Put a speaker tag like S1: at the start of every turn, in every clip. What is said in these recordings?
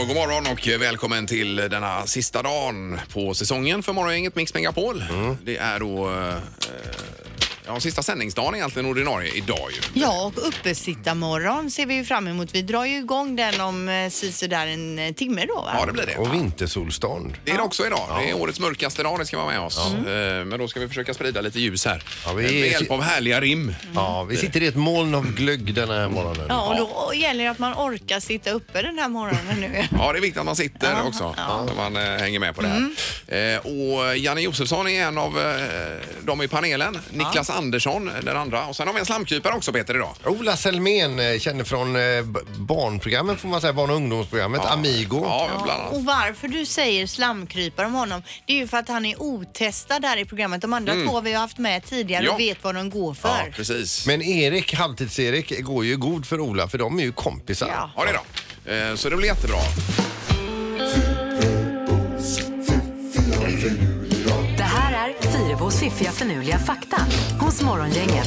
S1: och välkommen till denna sista dagen på säsongen för Morgongänget Mix Megapol.
S2: Mm.
S1: Det är då eh, ja, sista sändningsdagen egentligen, ordinarie, idag ju.
S3: Ja, och uppesittarmorgon ser vi ju fram emot. Vi drar ju igång den om eh, sisådär en eh, timme då. Va?
S1: Ja, det blir det.
S2: Och vintersolstånd.
S1: Det är det också idag. Det är årets mörkaste dag, det ska vara med oss. Eh, Men då ska vi försöka sprida lite ljus här.
S2: Ja, vi-
S1: Med hjälp av härliga rim.
S2: Ja, vi sitter i ett moln av glögg den här morgonen.
S3: Ja, och då gäller det att man orkar sitta uppe den här morgonen nu.
S1: Ja, det är viktigt att man sitter också. Så man eh, hänger med på det
S2: Mm.
S1: här. Eh, och Janne Josefsson är en av eh, dem i panelen. Niklas Andersson, den andra. Och sen har vi en slamkrypare också, Peter, idag.
S2: Ola Selmén, eh, känner från eh, b- barnprogrammen får man säga, barn och ungdomsprogrammet, Amigo.
S1: Ja, bland annat.
S3: Och varför du säger slamkrypare om honom, det är ju för att han är otestad där i programmet. De andra två har vi ju haft med tidigare
S1: Mm. Ja.
S3: och vet vad de går
S1: Ja,
S3: för.
S1: precis.
S2: Men Erik, Halvtids-Erik, går ju god för Ola för de är ju kompisar.
S3: Ja.
S1: Ja, det är då. Eh, Så det blir jättebra.
S4: Det här är Fyrabos fiffiga förnuliga fakta hos Morgongänget.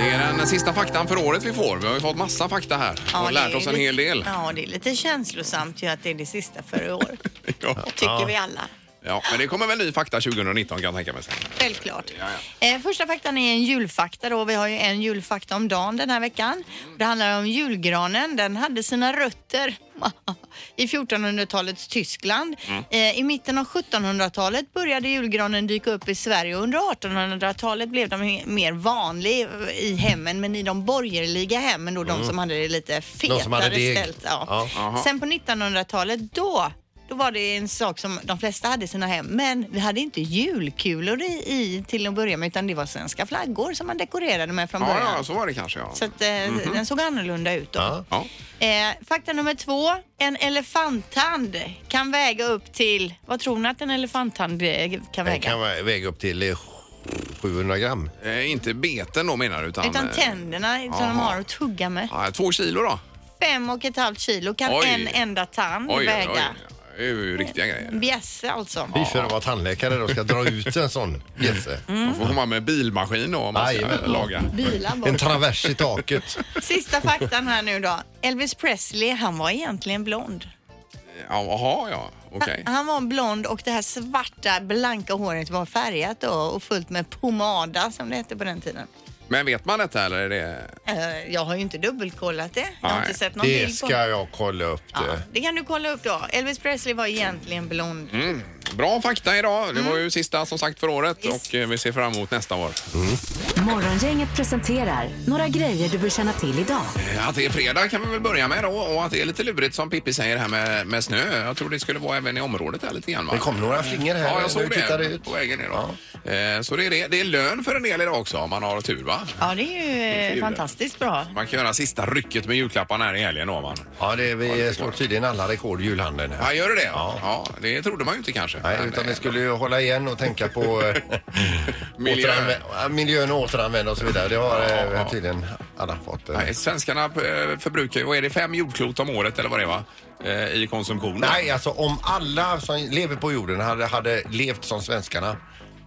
S1: Det är den sista faktan för året vi får. Vi har ju fått massa fakta här
S3: Ja,
S1: och lärt
S3: det är
S1: oss en
S3: lite-
S1: hel del.
S3: Ja, det är lite känslosamt ju att det är det sista för i år.
S1: Ja.
S3: Tycker vi alla.
S1: Ja, men det kommer väl ny fakta 2019 kan jag tänka mig. Sen.
S3: Självklart.
S1: Ja,
S3: Eh, första faktan är en julfakta då. Vi har ju en julfakta om dagen den här veckan. Det handlar om julgranen. Den hade sina rötter i 1400-talets Tyskland. Eh, I mitten av 1700-talet började julgranen dyka upp i Sverige och under 1800-talet blev de he- mer vanlig i hemmen, men i de borgerliga hemmen då, de som hade det lite fetare
S2: som hade deg.
S3: ställt. Ja.
S2: Ja.
S1: Aha.
S3: Sen på 1900-talet då då var det en sak som de flesta hade i sina hem, men vi hade inte julkulor i, i till att börja med utan det var svenska flaggor som man dekorerade med från början.
S1: Ja, alltså. Mhm. ja, så var det kanske. Ja.
S3: Så att, eh, den såg annorlunda ut då.
S1: Ja.
S3: Eh, fakta nummer två. En elefanttand kan väga upp till, vad tror ni att en elefanttand eh, kan
S2: Den
S3: väga?
S2: kan vä- väga upp till eh, 700 gram.
S1: Eh, Inte beten då menar du? Utan,
S3: Utan
S1: eh,
S3: tänderna som de
S1: aha.
S3: har att tugga med.
S1: ja, Två kilo då?
S3: Fem och ett halvt kilo kan
S1: Oj.
S3: en enda tand
S1: Oj, oj, oj.
S3: väga.
S1: Det är ju riktiga grejer.
S3: Bjässe alltså.
S2: Fy för att vara tandläkare då ska dra ut en sån bjässe.
S3: Mm.
S1: Man får komma med bilmaskin då om man ska
S2: Jajamän.
S1: laga.
S3: Bilar bort.
S2: En travers i taket.
S3: Sista faktan här nu då. Elvis Presley, han var egentligen blond.
S1: Jaha, ja. Okej.
S3: Han var blond och det här svarta blanka håret var färgat då och fullt med pomada som det hette på den tiden.
S1: Men vet man detta eller är det...
S3: Eh, Jag har ju inte dubbelkollat det. Jag har
S1: Nej,
S3: inte sett någon
S2: Det
S3: bild på
S2: ska jag kolla upp
S3: ja,
S2: det.
S3: Det kan du kolla upp då. Elvis Presley var egentligen blond.
S2: Mm.
S1: Bra fakta idag. Det var ju sista som sagt för året
S3: Visst.
S1: och eh, vi ser fram emot nästa år.
S4: Morgongänget presenterar några grejer du bör känna till idag.
S1: Eh, Att det är fredag kan vi väl börja med då och att det är lite lurigt som Pippi säger här med, med snö. Jag tror det skulle vara även i området här lite grann va?
S2: Det kom några flingor här
S1: Ja, jag såg
S2: när du tittade
S1: det
S2: ut.
S1: på vägen idag. Eh, Så det är, det. det är lön för en del idag också om man har tur va?
S3: Ja, det är ju eh, fantastiskt bra.
S1: Man kan göra sista rycket med julklapparna här i helgen då om man.
S2: Ja, det, vi slår tydligen alla rekord i julhandeln här.
S1: Ja, gör det det? Ja. det trodde man ju inte kanske.
S2: Nej,
S1: Men,
S2: utan
S1: eh,
S2: vi skulle ju hålla igen och tänka på eh,
S1: Miljön.
S2: återanvä- ja, miljön och återanvända och så vidare. Det har eh, tydligen alla fått. eh.
S1: Nej, svenskarna eh, förbrukar ju, vad är det, fem jordklot om året eller vad det var? Eh, I konsumtion.
S2: Nej, alltså om alla som lever på jorden hade, hade levt som svenskarna.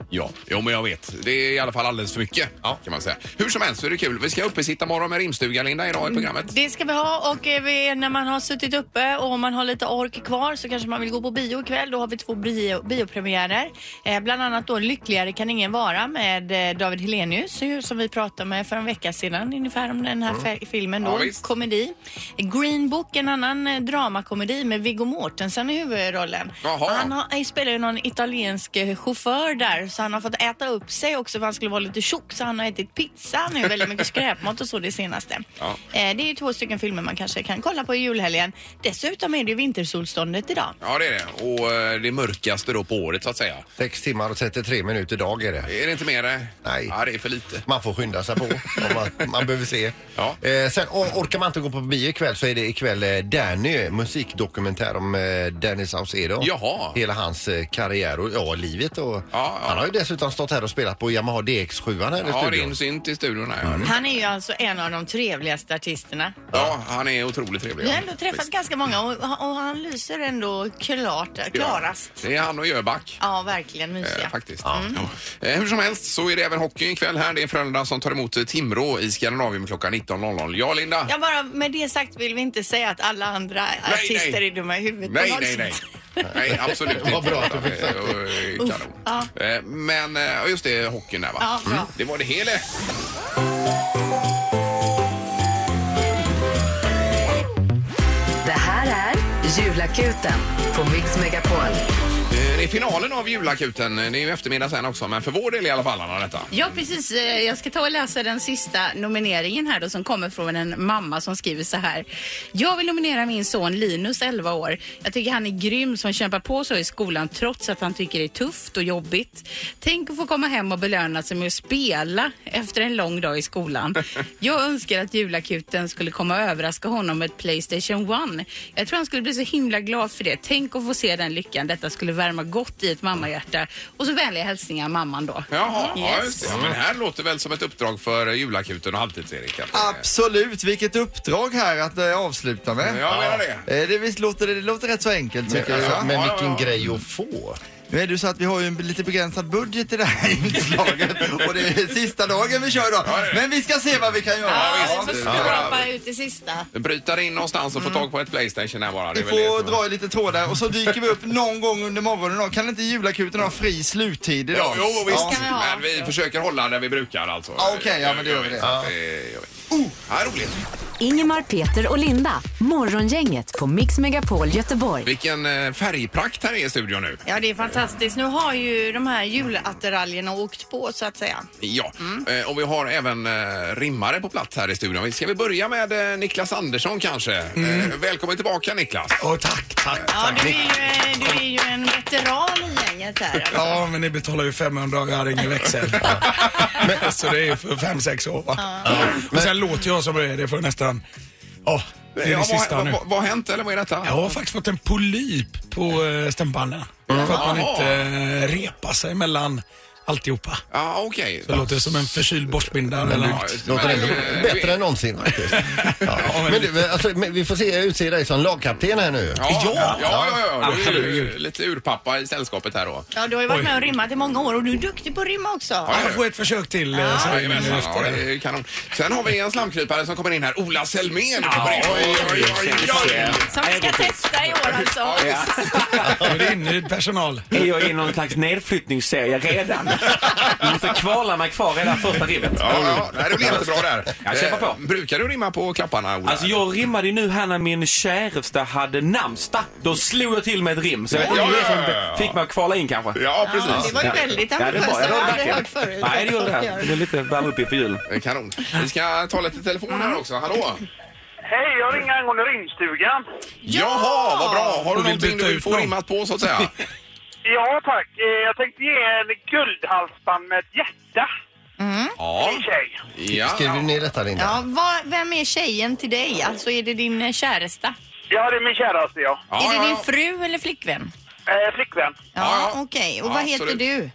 S1: Ja, jo men jag vet. Det är i alla fall alldeles för mycket kan man säga. Hur som helst så är det kul. Vi ska uppe sitta morgon med rimstuga Linda
S2: Mm.
S1: idag i programmet.
S3: Det ska vi ha och eh, vi, när man har suttit uppe och om man har lite ork kvar så kanske man vill gå på bio ikväll. Då har vi två bio, biopremiärer. Eh, bland annat då Lyckligare kan ingen vara med eh, David Hellenius ju, som vi pratade med för en vecka sedan ungefär om den här fe- filmen då.
S1: Mm. Ja, visst.
S3: komedi. Green Book, en annan eh, dramakomedi med Viggo Mortensen i huvudrollen.
S1: Jaha.
S3: Han har, eh, spelar ju någon italiensk eh, chaufför där så han har fått äta upp sig också för han skulle vara lite tjock så han har ätit pizza nu, väldigt mycket skräpmat och så det senaste.
S1: Ja.
S3: Eh, Det är ju två stycken filmer man kanske kan kolla på i julhelgen. Dessutom är det ju vintersolståndet idag.
S1: Ja det är det. Och eh, det mörkaste då på året så att säga.
S2: 6 timmar och 33 minuter dag är det.
S1: Är det inte mer det?
S2: Nej.
S1: Ja, det är för lite.
S2: Man får skynda sig på om man, man behöver se.
S1: Ja.
S2: Eh, sen o- orkar man inte gå på bio ikväll så är det ikväll eh, Danny, musikdokumentär om eh, Danny Saucedo.
S1: Jaha.
S2: Hela hans eh, karriär och ja, livet. Och
S1: ja.
S2: Han har har ju dessutom stått här och spelat på Yamaha DX7 här i
S1: Ja, det är
S2: studion. Mm.
S1: en synt i studion här. ja.
S3: Han är ju alltså en av de trevligaste artisterna.
S1: Ja, han är otroligt trevlig.
S3: Vi
S1: ja.
S3: har ändå träffat
S1: Visst.
S3: ganska många och, och han lyser ändå klart, klarast.
S1: Ja, det är han och Jöback.
S3: Ja, verkligen mysiga.
S1: Eh, faktiskt. Ja. Eh, hur som helst så är det även hockey ikväll här. Det är Frölunda som tar emot eh, Timrå i Skandinavien klockan 19.00. Ja, Linda?
S3: Ja, bara med det sagt vill vi inte säga att alla andra artister
S1: nej.
S3: är dumma i huvudet.
S1: Nej,
S3: på något
S1: nej, nej.
S3: sätt.
S1: Nej, absolut inte.
S2: Vad bra att du fick sagt
S1: Eh,
S3: Uff,
S1: Kanon.
S3: ja.
S1: Eh, Men eh, ja, just det, hockeyn där va? Mm.
S3: Ja, bra.
S1: Det var det hela. Eh,
S4: Det här är Julakuten på Mix Megapol.
S1: Eh, Det är finalen av julakuten. Det är ju eftermiddag sen också, men för vår del i alla fall, Anna, detta.
S5: Ja, precis. Eh, Jag ska ta och läsa den sista nomineringen här då som kommer från en mamma som skriver så här. Jag vill nominera min son Linus, 11 år. Jag tycker han är grym som kämpar på så i skolan trots att han tycker det är tufft och jobbigt. Tänk att få komma hem och belöna sig med att spela efter en lång dag i skolan. Jag önskar att julakuten skulle komma och överraska honom med ett Playstation 1. Jag tror han skulle bli så himla glad för det. Tänk att få se den lyckan. Detta skulle värma gott i ett mammahjärta. Och så vänliga hälsningar mamman då.
S1: Jaha, ja,
S5: Yes.
S1: just det. Ja, men det här låter väl som ett uppdrag för julakuten och Halvtids-Erik? att, eh,
S6: Absolut, vilket uppdrag här att eh, avsluta med.
S1: Ja, jag menar det.
S6: Eh, det, visst låter, det låter rätt så enkelt tycker
S2: Men,
S6: jag.
S2: alltså, men
S1: Ja, ja,
S2: vilken
S1: ja.
S2: grej att få.
S6: Nu är det ju så att vi har ju en lite begränsad budget i det här inslaget och det är sista dagen vi kör idag.
S1: det är det.
S6: Men vi ska se vad vi kan göra.
S1: Ja,
S3: Vi får
S1: visst. Ja.
S3: skrapa ut det sista.
S1: Bryta dig in någonstans och få tag på ett Playstation här bara. Det
S6: Mm. Vi
S1: är väl det
S6: får
S1: som-
S6: dra i lite trådar och så dyker vi upp någon gång under morgonen. då. Kan inte julakuten ha fri sluttid
S1: Ja,
S6: idag?
S1: jo, visst.
S6: Ja.
S3: vi ha.
S1: Men vi försöker hålla där vi brukar alltså.
S6: Ja, okej, ja, men det gör vi det.
S1: Så att, eh, gör vi. Ja, roligt.
S4: Ingemar, Peter och Linda. Morgongänget på Mix Megapol Göteborg.
S1: Vilken eh, färgprakt här är i studion nu.
S3: Ja, det är fantastiskt. Nu har ju de här julattiraljerna åkt på så att säga.
S1: Ja,
S6: Mm.
S1: eh, och vi har även eh, rimmare på plats här i studion. Ska vi börja med eh, Niklas Andersson kanske?
S7: Mm.
S1: Eh, välkommen tillbaka Niklas.
S7: Åh, tack, tack,
S3: Ja,
S7: tack.
S3: du är ju, eh, du är ju en veteran i gänget här.
S7: Ja, men ni betalar ju 500 och jag hade ingen växel. men, så det är ju för 5-6 år va? Och sen låter jag som det är, det får nästan... Ja, det är
S1: Ja,
S7: det
S1: vad,
S7: sista
S1: vad,
S7: nu.
S1: vad, vad har hänt eller vad är detta?
S7: Jag har faktiskt fått en polyp på eh, stämbanden. För att man
S1: Jaha.
S7: inte eh, repar sig mellan alltihopa.
S1: Ja, okej.
S7: Det låter som en förkyld borstbindare eller
S1: Ja,
S7: något.
S2: Låter
S1: men,
S2: ändå
S1: eh,
S2: bättre än någonsin faktiskt. Ja.
S7: men
S2: Men, du, alltså, men vi får se, utse dig som lagkapten här nu.
S1: Ja, ja, ja, ja,
S7: Ja,
S1: ja. Du är ju
S7: herregud.
S1: lite urpappa i sällskapet här då.
S3: Ja, du har ju varit
S7: Oj.
S3: med och rimmat i många år och du är duktig på att rimma också.
S1: Ja,
S7: Jag får ett försök till eh, sen
S1: Jajamensan, ja,
S7: efter.
S1: det är kanon. Sen har vi en slamkrypare som kommer in här, Ola Selmén. kommer in. Oj, oj, oj, oj.
S3: Som vi ska testa i år alltså.
S7: Nu är det inhyrd personal.
S8: Är jag i någon slags nedflyttningsserie redan? Jag måste kvala mig kvar redan första ribbet.
S1: Ja, ja, nej, det blir jättebra där. Eh,
S8: Jag kämpar på.
S1: brukar du rimma på klapparna, Ola?
S8: Alltså jag rimmade ju nu här när min käresta hade namnsdag. Då slog jag till med ett rim. Så jag vet inte om det är som fick mig att kvala in kanske.
S1: Ja,
S3: Ja, det
S1: precis.
S3: var ju väldigt
S8: Ja, det
S3: ambitiöst.
S8: var jag.
S3: Det har
S8: Det
S3: jag
S8: var
S3: aldrig
S8: verkligen.
S3: hört förut.
S8: Nej, det gjorde
S3: Folk
S8: det.
S3: gör.
S8: Det är lite värme upp inför julen.
S1: Kanon. Vi ska ta lite telefon här också. Hallå?
S9: Hej, jag ringer angående rimstugan.
S1: Jaha, vad bra. Har du
S7: Du vill
S1: någonting
S7: byta
S1: du
S7: ut
S1: får
S7: någon?
S1: rimmat på, så att säga?
S9: Ja, tack. Eh, Jag tänkte ge en guldhalsband med ett hjärta
S1: Ja.
S9: till en tjej.
S1: ja.
S2: Skriver du ner detta Linda?
S3: Ja, vad, vem är tjejen till dig? Alltså är det din eh, käresta?
S9: Ja, det är min käraste, ja.
S1: Ja,
S3: är
S1: ja,
S3: det
S1: ja.
S3: din fru eller flickvän?
S9: Eh, flickvän.
S3: Ja,
S1: ja.
S3: okej. Och
S1: Ja,
S3: vad heter
S1: absolut.
S3: du?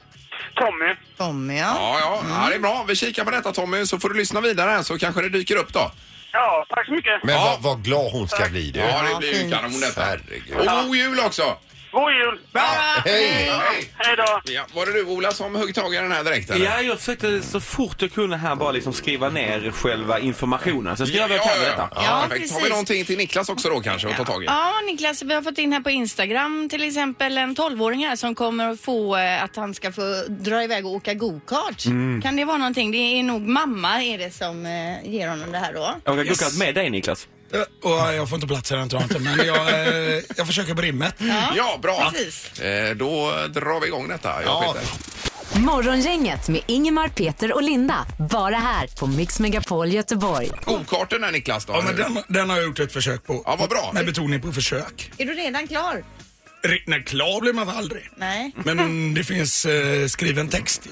S9: Tommy.
S3: Tommy, ja.
S1: Ja, ja. ja, det är bra. Vi kikar på detta Tommy, så får du lyssna vidare här så kanske det dyker upp då.
S9: Ja, tack så mycket.
S2: Men
S1: Ja.
S2: vad, vad glad hon ska bli du.
S1: Ja, det
S3: Ja,
S1: blir ju
S3: fint.
S1: kanon detta.
S2: Herregud.
S1: Och god jul också!
S9: God jul!
S3: eh,
S2: Hej!
S1: Hej!
S9: Hej då!
S1: Ja, var det du Ola som högg tag i den här direkt eller?
S8: Ja, jag försökte så fort jag kunde här bara liksom skriva ner själva informationen. Så jag ska göra vad jag kan med detta.
S3: Ja,
S1: perfekt. Har vi
S3: precis.
S1: någonting till Niklas också då kanske att ta tag i?
S3: Ja, Niklas, vi har fått in här på Instagram till exempel en 12-åring här som kommer att få eh, att han ska få dra iväg och åka go-kart.
S1: Mm.
S3: Kan det vara någonting? Det är nog mamma är det som eh, ger honom det här då.
S8: Jag har yes. med dig Niklas.
S7: Eh, Och jag får inte plats här, jag tror jag inte. Men jag, eh, jag försöker på rimmet.
S1: Ja, bra.
S3: Precis.
S1: Eh, då drar vi igång detta. Jag
S2: Ja.
S1: Peter.
S4: Morgongänget med Ingemar, Peter och Linda. Bara här på Mix Megapol Göteborg.
S1: Go-karten där Niklas då.
S7: Ja, men den, den har jag gjort ett försök på.
S1: Ja, vad bra.
S7: Med betoning på försök.
S3: Är du redan klar?
S7: Ri- Nej, klar blir man väl aldrig.
S3: Nej.
S7: Men det finns eh, skriven text som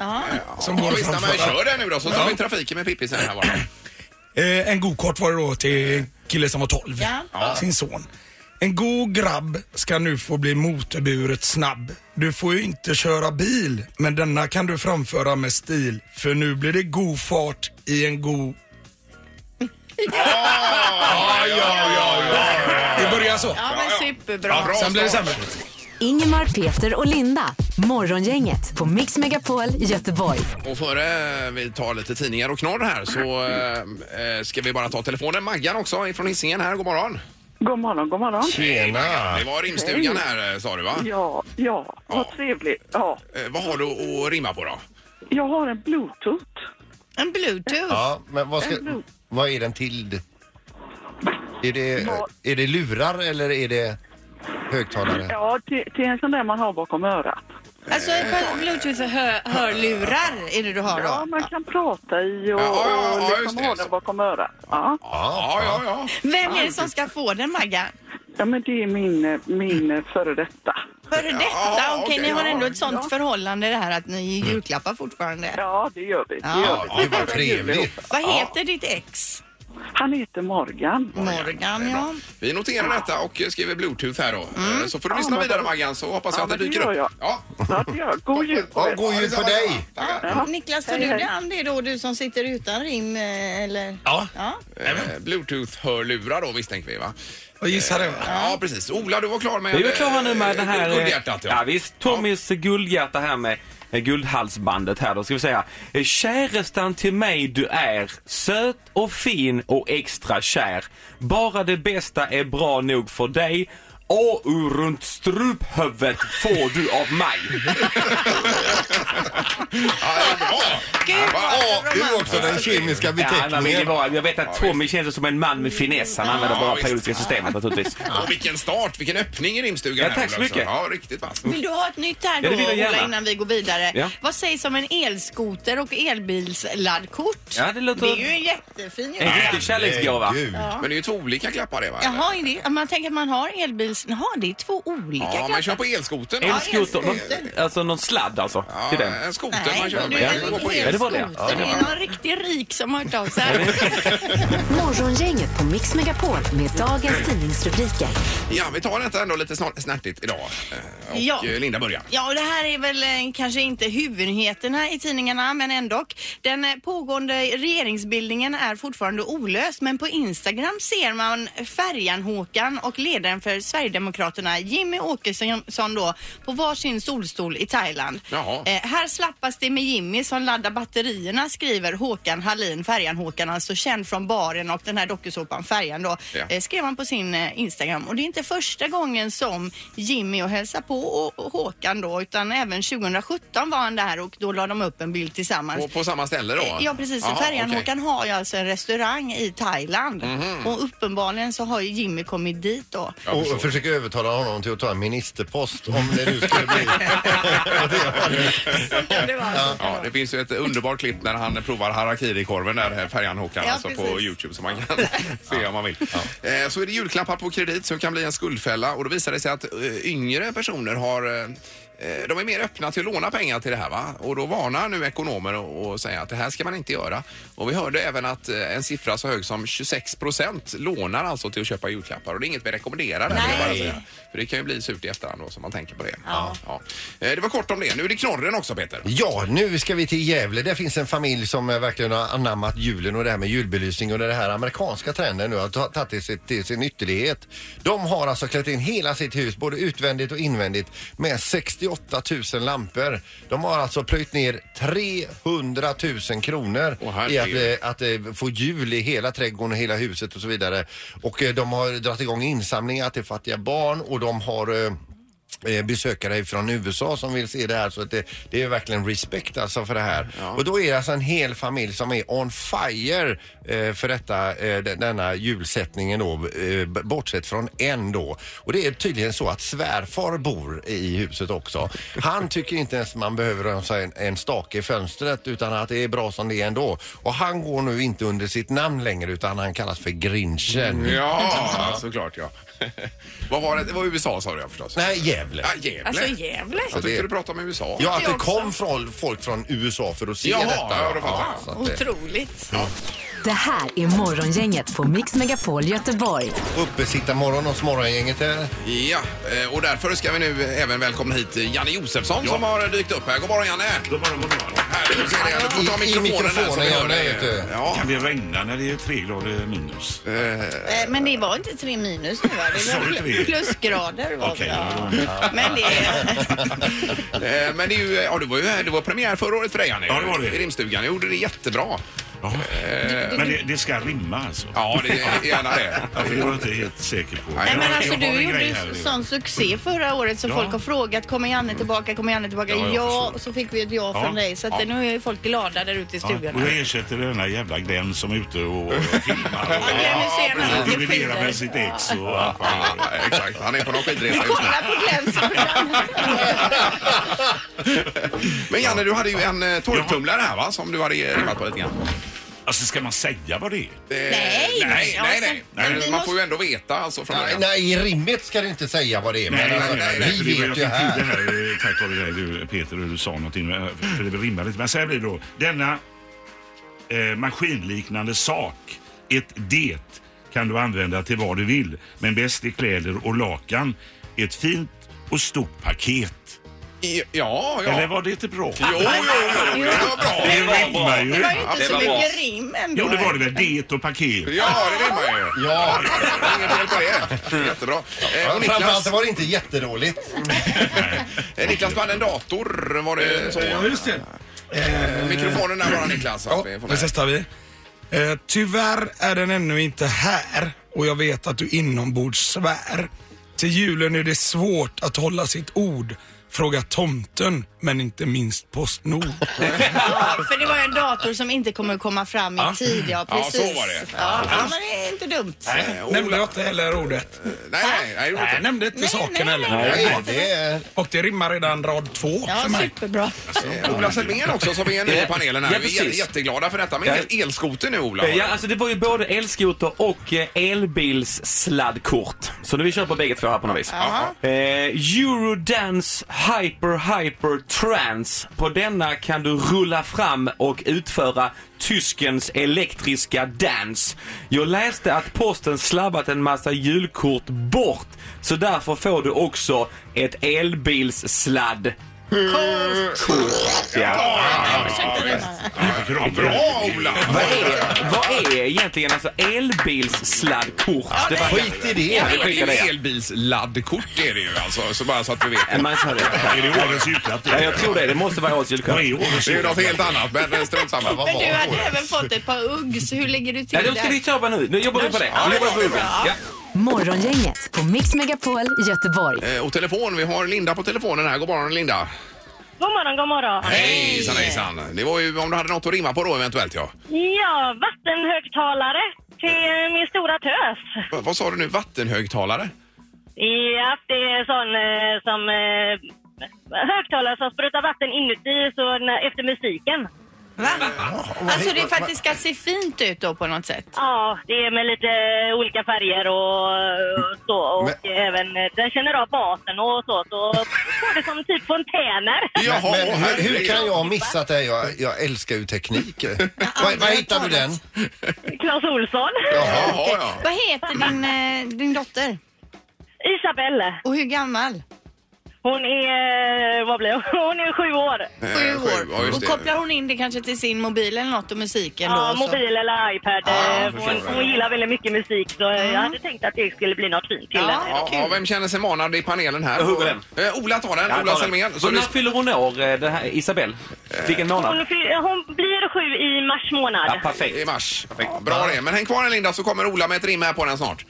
S1: Ja,
S7: går att
S1: visst, men
S7: framföra.
S1: kör den nu då så tar
S7: Ja.
S1: vi trafiken med Pippi sen här bara.
S7: Eh, en godkort var det då till en kille som var 12.
S3: Ja.
S7: Sin son. En god grabb ska nu få bli motorburet snabb. Du får ju inte köra bil, men denna kan du framföra med stil. För nu blir det god fart i en god...
S1: Ah,
S7: Det börjar så.
S3: Ja, men superbra.
S1: Ja, bra
S7: Sen blir det
S1: start.
S7: sämre.
S4: Ingemar, Peter och Linda. Morgongänget på Mix Megapol Göteborg.
S1: Och före eh, vi tar lite tidningar och knorr här så eh, eh, ska vi bara ta telefonen. Maggan också ifrån Hisingen här. God morgon.
S9: God morgon, god morgon.
S1: Tjena! Det var rimstugan här eh, sa du va?
S9: Ja, ja,
S1: Ja.
S9: vad trevligt. Ja.
S1: Eh, vad har du att rimma på då?
S9: Jag har en bluetooth.
S3: En bluetooth.
S2: Ja, men vad, ska, vad är den till? Är det, är det lurar eller är det högtalare?
S9: Ja, till, till en sån där man har bakom örat.
S3: Alltså ett par bluetooth-hörlurar är det du har
S9: Ja,
S3: då?
S9: man kan prata i och,
S1: Ja, ja, ja,
S9: och
S1: just
S9: liksom
S1: det.
S9: ha den bakom örat. Ja.
S1: Ja, ja, ja.
S3: Vem är det som ska få den Maggan?
S9: ja, men det är min, eh, min eh, före detta.
S3: Före detta?
S1: Ja,
S3: Okej,
S1: okej,
S3: ni har
S1: ja, Mm.
S3: ändå ett sånt
S9: ja.
S3: förhållande det här att ni ger julklappar fortfarande.
S9: Ja, det gör vi. Det
S3: Ja.
S9: gör vi.
S2: Det var trevligt.
S3: Vad heter ditt ex?
S9: Han heter Morgan.
S3: Morgan, ja.
S1: Vi noterar detta och skriver bluetooth här då. Eh, Så får du lyssna
S9: Mm. men
S1: vidare
S9: vad-
S1: Maggan så hoppas jag
S9: Ja,
S1: att det
S9: men det
S1: dyker
S9: gör
S1: upp.
S9: jag.
S1: Ja.
S9: Ja, det gör jag. God jul på
S2: Ja,
S9: er.
S2: god jul på dig!
S9: Ja.
S3: Niklas, tar du dig an det då? Du som sitter utan rim eh, eller?
S7: Ja,
S3: Ja.
S1: Eh, Bluetooth-hörlurar då misstänker vi va? Eh,
S7: jag gissar det.
S1: Ja, precis. Ola, du var klar med...
S8: Vi är väl klara nu med den här... eh,
S1: Guldhjärtat,
S8: ja. visst. Tommys guldhjärta här med eh, guldhalsbandet här då. Ska vi säga. eh, Kärestan till mig du är. Söt och fin och extra kär. Bara det bästa är bra nog för dig. Och ur runt struphuvudet får du av mig.
S1: Ja, det är bra!
S3: Gud,
S1: Va?
S3: vad
S2: Du är också den kemiska
S8: Ja, man vill ju
S2: beteckningen.
S8: vara, jag vet att Tommy känns som en man med finess. Han använder
S1: Ja,
S8: bara
S1: visst.
S8: periodiska systemet naturligtvis.
S1: Och vilken start, vilken öppning i rimstugan.
S8: Ja,
S1: här,
S8: tack så
S1: Ola, också.
S8: mycket.
S1: Ja, riktigt vass.
S3: Vill du ha ett nytt här
S8: Ja,
S3: då,
S8: det vill jag
S3: Ola,
S8: gärna.
S3: innan vi går vidare?
S8: Ja.
S3: Vad sägs om en elskoter och elbilsladdkort?
S8: Ja, det låter-
S3: Det är ju en jättefin
S8: En
S3: julklapp.
S8: riktig kärleksgåva.
S2: Herregud.
S1: Men det är ju två olika klappar det va? eller?
S3: Jaha, är det, man tänker att man har elbils... Jaha, det är två olika
S1: Ja, man kör på elskotern.
S3: Ja,
S8: Elskoter.
S3: elskoter.
S8: någon- Alltså någon sladd alltså.
S1: Ja,
S8: Till den.
S1: en skoter man
S3: Nej,
S1: kör
S3: du
S1: med.
S3: är
S1: Det
S3: väl
S1: går på
S3: elskoter.
S8: Ja, det var det.
S3: Det är någon riktigt rik som har hört av sig.
S4: Morgongänget på Mix Megapol med dagens tidningsrubriker.
S1: Ja, vi tar detta ändå lite snart, snärtigt idag. Eh, Och
S3: Ja.
S1: eh, Linda börjar.
S3: Ja, och det här är väl eh, kanske inte huvudnyheterna i tidningarna, men ändå. Den eh, pågående regeringsbildningen är fortfarande olöst, men på Instagram ser man färjan Håkan och ledaren för Sverigedemokraterna, Jimmy Åkesson, då, på varsin solstol i Thailand.
S1: Jaha.
S3: Eh, här slappas det med Jimmy som laddar batterierna, skriver Håkan Hallin, färjan Håkan, alltså känd från baren och den här dokusåpan Färjan då,
S1: Ja.
S3: eh, skrev han på sin eh, Instagram. Och det är inte första gången som Jimmy och hälsar på och, och Håkan då, utan även 2017 var han där och då la de upp en bild tillsammans.
S1: Och på samma ställe då?
S3: Eh, Ja precis,
S1: Jaha,
S3: och färjan
S1: okej.
S3: Håkan har ju alltså en restaurang i Thailand
S10: Mhm.
S3: och uppenbarligen så har ju Jimmy kommit dit då.
S2: Och försöker övertala honom till att ta en ministerpost om det nu skulle bli.
S3: Så kan det vara. så kan det
S1: Ja,
S3: vara.
S1: det alltså- finns ju ett underbart klipp när han provar harakiri-korven där, eh, färjan Håkan,
S3: Ja,
S1: alltså på
S3: precis.
S1: Youtube som man kan se om man vill. Eh, Så är det julklappar på kredit som kan bli en skuldfälla och då visar det sig att eh, yngre personer har eh, eh, de är mer öppna till att låna pengar till det här va? Och då varnar nu ekonomer och, och säger att det här ska man inte göra. Och vi hörde även att eh, en siffra så hög som 26 procent lånar alltså till att köpa julklappar och det är inget vi rekommenderar. Nej.
S3: Nej.
S1: Bara säga. För det kan ju bli surt i efterhand då, så man tänker på det. Ja. Eh, Det var kort om det. Nu är det knorren också Peter.
S2: Ja, nu ska vi till Gävle. Där finns en familj som eh, verkligen har anammat julen och det här med julbelysning och det här amerikanska trenden nu har ta- tagit till, sitt- till sin ytterlighet. De har alltså klätt in hela sitt hus, både utvändigt och invändigt, med 68 000 lampor. De har alltså plöjt ner 300 000 kronor
S1: Åh,
S2: i
S1: herregud.
S2: att eh, att eh, få jul i hela trädgården och hela huset och så vidare. Och eh, de har dragit igång insamlingar till fattiga barn och de har eh, eh, besökare från USA som vill se det här så att det, det är verkligen respekt alltså för det här. Och då är det alltså en hel familj som är on fire eh, för detta, eh, de- denna julsättningen då eh, b- bortsett från en då. Och det är tydligen så att svärfar bor i huset också. Han tycker inte ens man behöver rönsa en, en stake i fönstret utan att det är bra som det är ändå. Och han går nu inte under sitt namn längre utan han kallas för Grinchen.
S1: Mm. Ja, såklart ja. Vad var det? Det var USA sa du ja förstås.
S2: Nej, Gävle.
S1: Ja, Gävle.
S3: Alltså Gävle.
S1: jag tyckte du pratade om USA.
S2: Ja, att det kom från, folk från USA för att se
S1: Jaha,
S2: detta.
S1: ja, då fattar jag.
S2: så att eh, det-
S3: Otroligt.
S4: Det här är Morgongänget på Mix Megapol Göteborg.
S2: Uppe sitta morgon hos morgongänget här.
S1: Ja, eh, och därför ska vi nu även välkomna hit Janne Josefsson som har dykt upp här. God morgon Janne!
S10: God morgon, god morgon.
S1: Härligt, ser jag. Du får ta
S2: I- i
S1: mikrofonen här så vi hör
S2: mikrofonen,
S1: dig.
S2: vet du.
S1: Ja.
S10: Kan det regna när det är tre grader minus?
S3: Eh, Men det var inte tre minus nu va? Det
S10: Sorry,
S3: var
S10: tre.
S3: pl- plusgrader. Var
S10: Okej,
S3: det.
S10: ja,
S3: Ja. Men det
S1: Eh, Men det, är ju, ja, det, var ju, det var premiär förra året för dig Janne.
S10: Ja, det var det.
S1: I rimstugan. Jag gjorde det jättebra.
S10: Ja. Men det, det ska rimma alltså?
S1: Ja, det är gärna det.
S10: Ja, för det var jag inte helt säker på.
S1: Nej,
S3: Nej,
S10: Jag
S3: men
S10: har-
S3: alltså,
S10: jag har
S3: du
S10: en grej
S3: gjorde
S10: här.
S3: sån succé förra året så
S10: Ja.
S3: folk har frågat kommer Janne tillbaka, kommer Janne tillbaka?
S10: Ja,
S3: Ja,
S10: jag förstår.
S3: och så fick vi ett ja
S10: Ja,
S3: från dig. Så att eh, nu är ju folk glada där ute i
S10: Ja,
S3: stugorna.
S10: och jag ersätter den här jävla Glenn som är ute och och filmar och,
S3: Ja, Glenn Hysén, han
S10: och
S3: åker
S10: dividerar
S3: skidor.
S10: med sitt ex och allt vad han
S1: Ja,
S10: gör.
S1: exakt. Han är på någon skidresa just nu.
S3: Kolla på Glenns program.
S1: Men Janne, du hade ju en eh, torktumlare här va? Som du hade eh, rimmat på lite grann. Eh,
S10: Alltså ska man säga vad det är?
S1: nej, nej, nej, nej.
S3: men vi
S1: Man
S3: måste-
S1: får ju ändå veta alltså från
S2: Nej,
S1: början.
S2: nej, i rimmet ska du inte säga vad det är. Men alltså,
S10: för
S2: vi
S10: det var-
S2: vet ju
S10: jag fick till
S2: här.
S10: Det här eh, tack vare dig du, Peter och du sa någonting, men, för det rimmar lite. Men så här blir det då. Denna eh, maskinliknande sak, ett det, kan du använda till vad du vill. Men bäst är kläder och lakan. Ett fint och stort paket.
S1: I- Ja, ja.
S10: Eller var det inte bra?
S1: Jo, jo, jo, jo, det var bra.
S10: Det rimmar ju.
S3: Det var ju inte
S1: det
S3: så
S1: var bra.
S3: mycket rim ändå.
S10: Jo, det var det väl. Det och paket.
S1: Ja, det rimmar ju.
S2: Ja,
S1: Inget fel på
S10: Mm.
S1: det. Jättebra. Eh, och
S2: framförallt
S1: Niklas,
S2: så var det inte jätteroligt.
S1: eh, Niklas vann en dator, var det så?
S7: Ja, just det.
S1: Eh, Mikrofonen där bara Niklas. så att vi får
S7: Det
S1: med.
S7: testar vi. Eh, tyvärr är den ännu inte här och jag vet att du inombords svär. Till julen är det svårt att hålla sitt ord. Fråga tomten, men inte minst Postnord.
S3: Ja, för det var ju en dator som inte kommer att komma fram i tid. Ja,
S1: Ja,
S3: precis.
S1: så var det.
S3: Ja, ja, men det är inte dumt.
S1: Eh, Ola-
S7: Nämnde jag inte heller ordet?
S1: Nej, nej, nej, det gjorde
S7: Nej, jag
S1: inte.
S7: nämnde inte
S3: Nej,
S7: saken
S3: nej,
S7: heller.
S3: nej.
S2: Nej, det är...
S7: Och det rimmar redan rad två
S3: Ja,
S7: för mig.
S3: superbra.
S1: Eh, Ola Selmén också som är ny i panelen här.
S8: Ja,
S1: Vi är
S8: precis.
S1: jätteglada för detta. Men
S8: Ja.
S1: el- elskoter nu Ola.
S8: Eh, Ja, alltså det var ju både elskoter och eh, elbilssladdkort. Så nu vi kör på bägge två här på något vis. Eh, Eurodance Hyper Hyper Trance. På denna kan du rulla fram och utföra tyskens elektriska dans. Jag läste att posten slabbat en massa julkort bort. Så därför får du också ett elbilssladd. Ja.
S10: Kram.
S1: Bra Ola!
S8: Vad är, vad är egentligen alltså elbilssladdkort? Det var-
S2: Skit i det.
S8: vi
S1: Det
S8: skickar
S1: är ju
S8: det.
S1: elbilsladdkort är det ju alltså. Så bara så att vi vet.
S8: Man sa det.
S10: Är det årets julklapp?
S8: Ja, jag tror det. Det måste vara årets julklapp.
S10: Vad är årets
S1: Det är ju något
S10: julklapp?
S1: helt annat, men eh, strunt samma. Vad
S3: Men du
S1: var
S3: hade även fått ett par Uggs. Hur ligger du till
S8: Nej, de ska vi
S3: där?
S8: köpa nu. Nu jobbar vi på det. Nu jobbar vi på det. Ja.
S4: Morgongänget på Mix Megapol Göteborg.
S1: Eh, Och telefon, vi har Linda på telefonen här. God morgon Linda.
S9: God morgon, god morgon.
S1: Hejsan hejsan. Det var ju om du hade något att rimma på då eventuellt ja.
S9: Ja, vattenhögtalare till min stora tös.
S1: Va- Vad sa du nu? Vattenhögtalare?
S9: Ja, det är sån eh, som eh, högtalare som sprutar vatten inuti så när, efter musiken.
S3: Va? Alltså det är för att det ska se fint ut då på något sätt.
S9: Ja, det är med lite eh, olika färger och, och så. Och
S2: Men-
S9: även eh, den känner av basen och så. Så får det som typ fontäner.
S1: Jaha,
S2: Men hur, hur
S1: herregud.
S2: kan jag ha missat det? här? Jag, jag älskar ju teknik. Var, var hittar du den?
S9: Claes Olsson.
S1: Jaha,
S3: Okej.
S1: ja.
S3: Vad heter din, eh, din dotter?
S9: Isabelle.
S3: Och hur gammal?
S9: Hon är, eh, vad blir hon? Hon är sju år.
S1: Eh,
S3: Sju år.
S1: Ja, just
S3: och
S1: det.
S3: kopplar hon in det kanske till sin mobil eller något och musiken
S9: Ja,
S3: då?
S9: mobil eller iPad.
S1: Ja,
S9: Eh,
S1: förstår det.
S9: hon, hon gillar väldigt mycket musik så eh, jag hade tänkt att det skulle bli något fint
S3: Ja.
S9: till henne.
S1: Ja, ja, vem känner sig manad i panelen här?
S8: Jag hugger den.
S1: Eh, Ola tar den,
S8: Ja, ta
S1: Ola
S8: den.
S1: Selmén. Så
S8: Och
S1: du...
S8: när fyller hon år, eh, den här Isabelle? Vilken månad?
S9: Hon, fy- eh, hon blir sju i mars månad.
S8: Ja,
S1: I
S8: perfekt.
S1: mars. Ja, bra det. Men häng kvar den Linda så kommer Ola med ett rim här på den snart.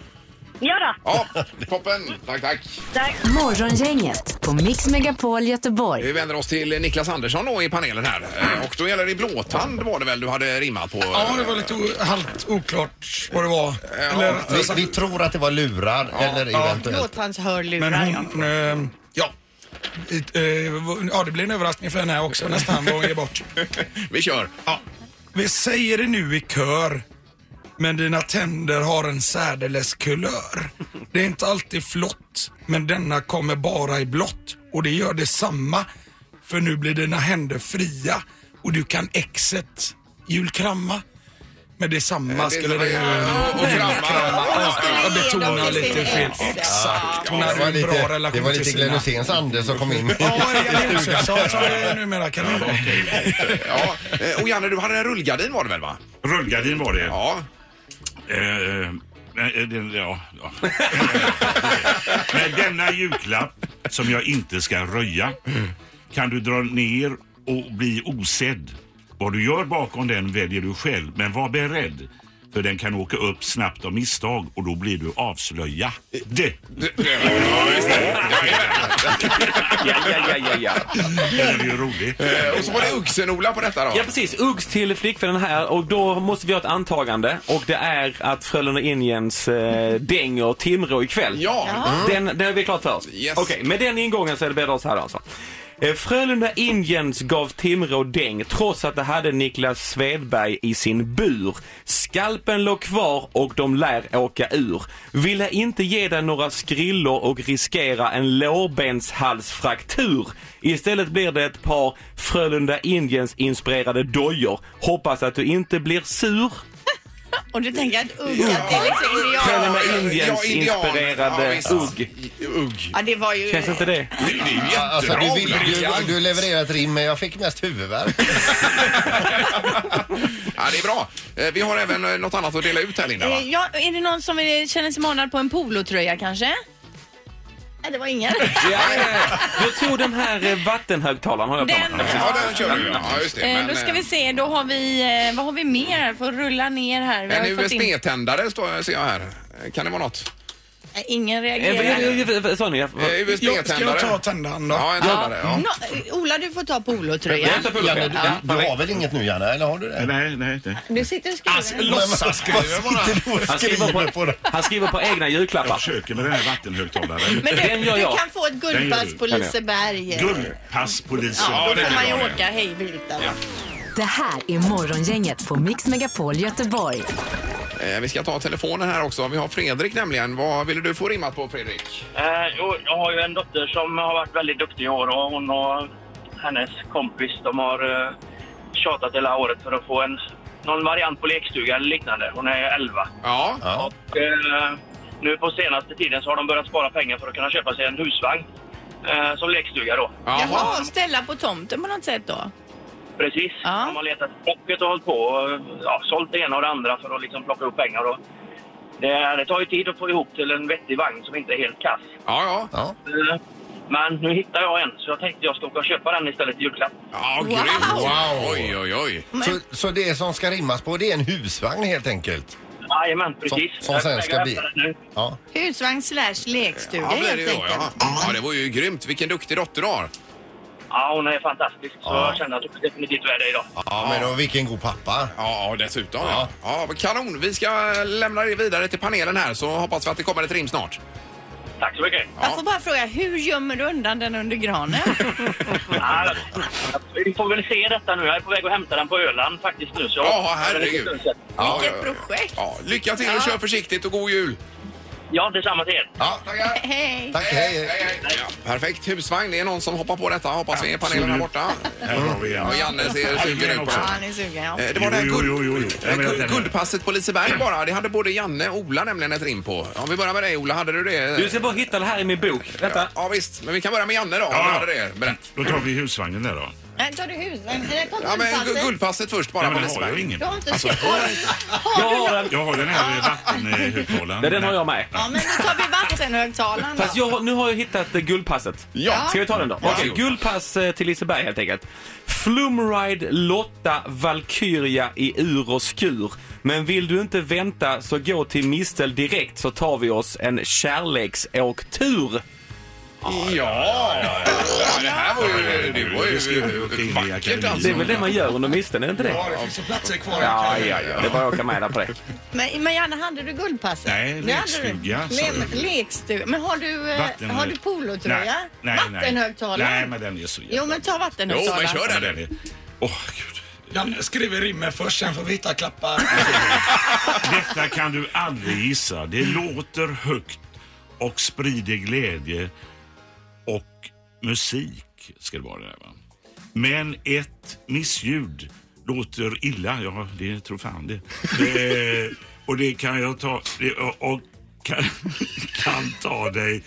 S9: Ja, då.
S1: Ja, toppen. Tack, tack.
S9: Tack.
S4: Morgongänget på Mix Megapol Göteborg.
S1: Vi vänder oss till Niklas Andersson då i panelen här. Eh, Och då gäller det blåtand var det väl du hade rimmat på?
S7: Ja, det var lite o- halvt oklart vad det var. Eller,
S2: Vi, vi tror att det var lurar eller eventuellt.
S3: Låt hans hörlurar.
S7: Men hon... Eh, ja. It, eh, v- ja, det blir en överraskning för henne här också nästan vad hon ger bort.
S1: Vi kör.
S7: Ja. Vi säger det nu i kör. Men dina tänder har en särdeles kulör. Det är inte alltid flott, men denna kommer bara i blått. Och det gör detsamma, för nu blir dina händer fria och du kan exet julkramma. med detsamma skulle det
S1: Och krama.
S7: Jag betonar lite fel. Exakt. Hon hade ju en bra relation
S2: det var
S7: till
S2: lite
S7: sina...
S2: Glenn Hyséns ande som kom in.
S7: Janne Josefsson som det numera kan heta.
S1: Ja, eh, och Janne, du hade en rullgardin var det väl va?
S10: Rullgardin var det.
S1: Ja.
S10: Eh, eh, den- ja, ja. Med denna julklapp som jag inte ska röja kan du dra ner och bli osedd. Vad du gör bakom den väljer du själv, men var beredd. För den kan åka upp snabbt av misstag och då blir du avslöjad.
S8: Ja, ja, ja, ja, ja.
S10: Det är ju roligt.
S1: eh, Och så var det Uggsen-Ola på detta då.
S8: Ja precis, Uggs till flickvännen här och då måste vi ha ett antagande och det är att Frölunda Indians eh, dänger Timrå ikväll.
S1: Ja.
S8: Den, den är vi klart för oss?
S1: Yes.
S8: Okej, med den ingången så är det bättre att så här alltså. Eh, Frölunda Indians gav Timrå däng trots att det hade Niklas Svedberg i sin bur. Skalpen låg kvar och de lär åka ur. Ville inte ge dig några skrillor och riskera en lårbenshalsfraktur. Istället blir det ett par Frölunda Indians inspirerade dojor. Hoppas att du inte blir sur.
S3: Och du tänker att unga till liksom indianer.
S8: Frölunda Indians
S1: indian. Ja,
S8: inspirerade
S1: visst.
S8: ugg.
S1: Ugg.
S3: Ja, det var ju...
S8: Känns inte det?
S1: Det är ju jättebra
S2: Alltså, du, vill,
S1: Ola.
S2: du, du levererar ett rim men jag fick mest huvudvärk.
S1: Ja, det är bra. Eh, Vi har även eh, något annat att dela ut här Linda va?
S3: Eh, Ja, är det någon som vill, känner sig manad på en polotröja kanske? Nej, det var ingen.
S8: Ja, ja, ja. Jag tror den här eh, vattenhögtalaren har jag på
S3: Den-
S8: mig.
S1: Ja, den kör du. Ja, just det.
S3: Eh, då ska vi se, då har vi, eh, vad har vi mer? Får rulla ner här. Vi har
S1: En
S3: ju fått in-
S1: USB-tändare står- ser jag här. Eh, Kan det vara något?
S3: Nej, Ingen reagerar.
S8: Eh, Sa ni?
S1: Eh,
S7: Ja, Ska jag ta
S1: USB-tändare?
S7: tändaren då?
S1: Ja, en tändare. Ja.
S3: Nå- Ola, du får ta
S8: Jag
S3: polotröjan.
S8: hämtar
S2: Janne,
S8: pullover.
S2: du,
S8: Ja,
S2: du har väl inget nu Janne? Eller har du det?
S10: Nej, nej, nej.
S3: Du sitter och skriver.
S2: Låtsas skriver bara.
S8: Han skriver, på, han skriver på egna
S10: Jag
S8: julklappar.
S10: försöker med den här vattenhögtalaren.
S3: Men
S8: Den
S3: du,
S8: gör
S3: du
S8: jag.
S3: kan få ett guldpass på
S10: Den
S8: gör jag.
S3: Liseberg.
S10: Guldpasspolisen.
S3: Ja, då
S1: det
S3: får
S1: kan
S3: man ju
S1: vara det.
S3: åka hej vilt där. va?
S4: Det här är Morgongänget på Mix Megapol Göteborg.
S1: Eh, Vi ska ta telefonen här också. Vi har Fredrik nämligen. Vad ville du få rimmat på Fredrik?
S11: Eh, jo, jag har ju en dotter som har varit väldigt duktig i år och hon och hennes kompis de har eh, tjatat hela året för att få en, någon variant på lekstuga eller liknande. Hon är 11.
S1: Ja.
S2: Ja.
S11: Eh, nu på senaste tiden så har de börjat spara pengar för att kunna köpa sig en husvagn eh, som lekstuga då.
S3: Jaha, ställa på tomten på något sätt då.
S11: Precis.
S3: Ja.
S11: De har letat i pocket och hållit på och eh, ja, sålt det ena och det andra för att liksom plocka upp pengar. Och det, det tar ju tid att få ihop till en vettig vagn som inte är helt kass.
S1: Ja, ja.
S2: Ja.
S11: Eh, Men nu hittar jag en, så jag tänkte jag ska åka och köpa den istället i julklapp.
S1: Ja,
S3: Wow.
S1: grymt.
S2: Wow.
S1: Oj, oj, oj.
S2: Så, så det som ska rimmas på det är en husvagn helt enkelt?
S11: Jajamän, precis.
S2: Som- som
S11: Jag
S2: sen
S11: väger
S2: ska
S11: efter
S2: bli.
S11: den nu.
S2: Ja.
S3: Husvagn slash lekstuga
S1: Ja, blir det
S3: helt
S1: då,
S3: enkelt.
S1: ja. ja, det var ju grymt. Vilken duktig dotter du har.
S11: Ja, hon är fantastisk. Så
S2: Ja.
S11: jag känner att hon definitivt är det idag.
S2: ja, men då, vilken god pappa.
S1: Ja, dessutom. Ja. Ja, men kanon. Vi ska lämna det vidare till panelen här så hoppas vi att det kommer ett rim snart.
S11: Tack så mycket.
S1: Ja.
S3: Jag får bara fråga, hur gömmer du undan den under granen?
S11: Ja, vi får väl se detta nu. Jag är på väg att hämta den på Öland faktiskt nu. Så jag-
S1: Ja, herregud. Ja,
S3: Vilket
S1: ja, ja.
S3: projekt.
S1: Ja, lycka till och kör försiktigt och god jul!
S11: Ja, detsamma till er.
S2: Ja,
S1: Tackar!
S3: Hej!
S2: tack, hej. hej.
S1: Ja, perfekt husvagn. Det är någon som hoppar på detta. Hoppas vi är i panelen här borta.
S10: Här har vi en.
S1: Och Janne ser sugen ut på
S3: Ja,
S1: det.
S3: han är sugen ja.
S1: Eh, Det var det här
S10: Jo,
S1: guld,
S10: jo, jo, jo. Jag
S1: eh,
S10: menar
S1: guld-
S10: den här.
S1: guldpasset på Liseberg bara. Det hade både Janne och Ola nämligen ett rim på. Om vi börjar med dig Ola, hade du det?
S8: Du ska bara hitta det här i min bok. Vänta.
S1: Ja visst, men vi kan börja med Janne då. Om
S10: Ja.
S1: du hade det. Berätt.
S10: Då tar vi husvagnen där då.
S3: Nej, tar du husvagn? Eller kom
S1: Ja, men gu-
S3: guldpasset.
S1: guldpasset först bara
S10: Nej,
S1: på
S10: men har jag
S1: Liseberg.
S10: ingen.
S3: Du har inte
S1: Alltså,
S3: Har
S8: Jag
S3: du
S8: har
S3: någon-
S8: den.
S10: Jag har den här eh, vattenhögtalaren.
S8: Nej, Den har jag med.
S3: Ja, men då tar vi vattenhögtalaren då.
S8: Fast jag, har- nu har jag hittat eh, guldpasset.
S1: Ja.
S8: Ska vi ta den då? Okej, guldpass eh, till Liseberg helt enkelt. Flumride Lotta Valkyria i ur och skur. Men vill du inte vänta så gå till Mistel direkt så tar vi oss en kärleksåktur.
S1: Ja, ja, ja, det här var ju, det var ju vackert alltså.
S8: Det är väl det man gör under Misteln, är det inte det?
S7: Ja, det finns ju platser kvar.
S8: Ja, ja, ja. Det var jag åka med där på det.
S3: Men, men Janne, hade du guldpasset?
S10: Nej,
S3: Det hade du.
S10: lekstuga, sa
S3: Lem-
S10: du.
S3: lekstuga. Men har du, eh,
S10: Vatten-
S3: har du polotröja?
S10: Nej, nej, nej.
S3: vattenhögtalare?
S10: Nej, men den är så jävla...
S3: Jo, men ta
S1: Jo,
S3: vattenhögtalare.
S1: men kör
S10: Ja,
S1: den.
S10: men den är... Åh, gud.
S7: Janne skriver rimmen först, sen får vi hitta klappar.
S10: Detta kan du aldrig gissa. Det låter högt och sprider glädje och musik ska det vara. Där, va? Men ett missljud Låter illa, ja det tror fan det. eh, och det kan jag ta, det, och, och kan, kan ta dig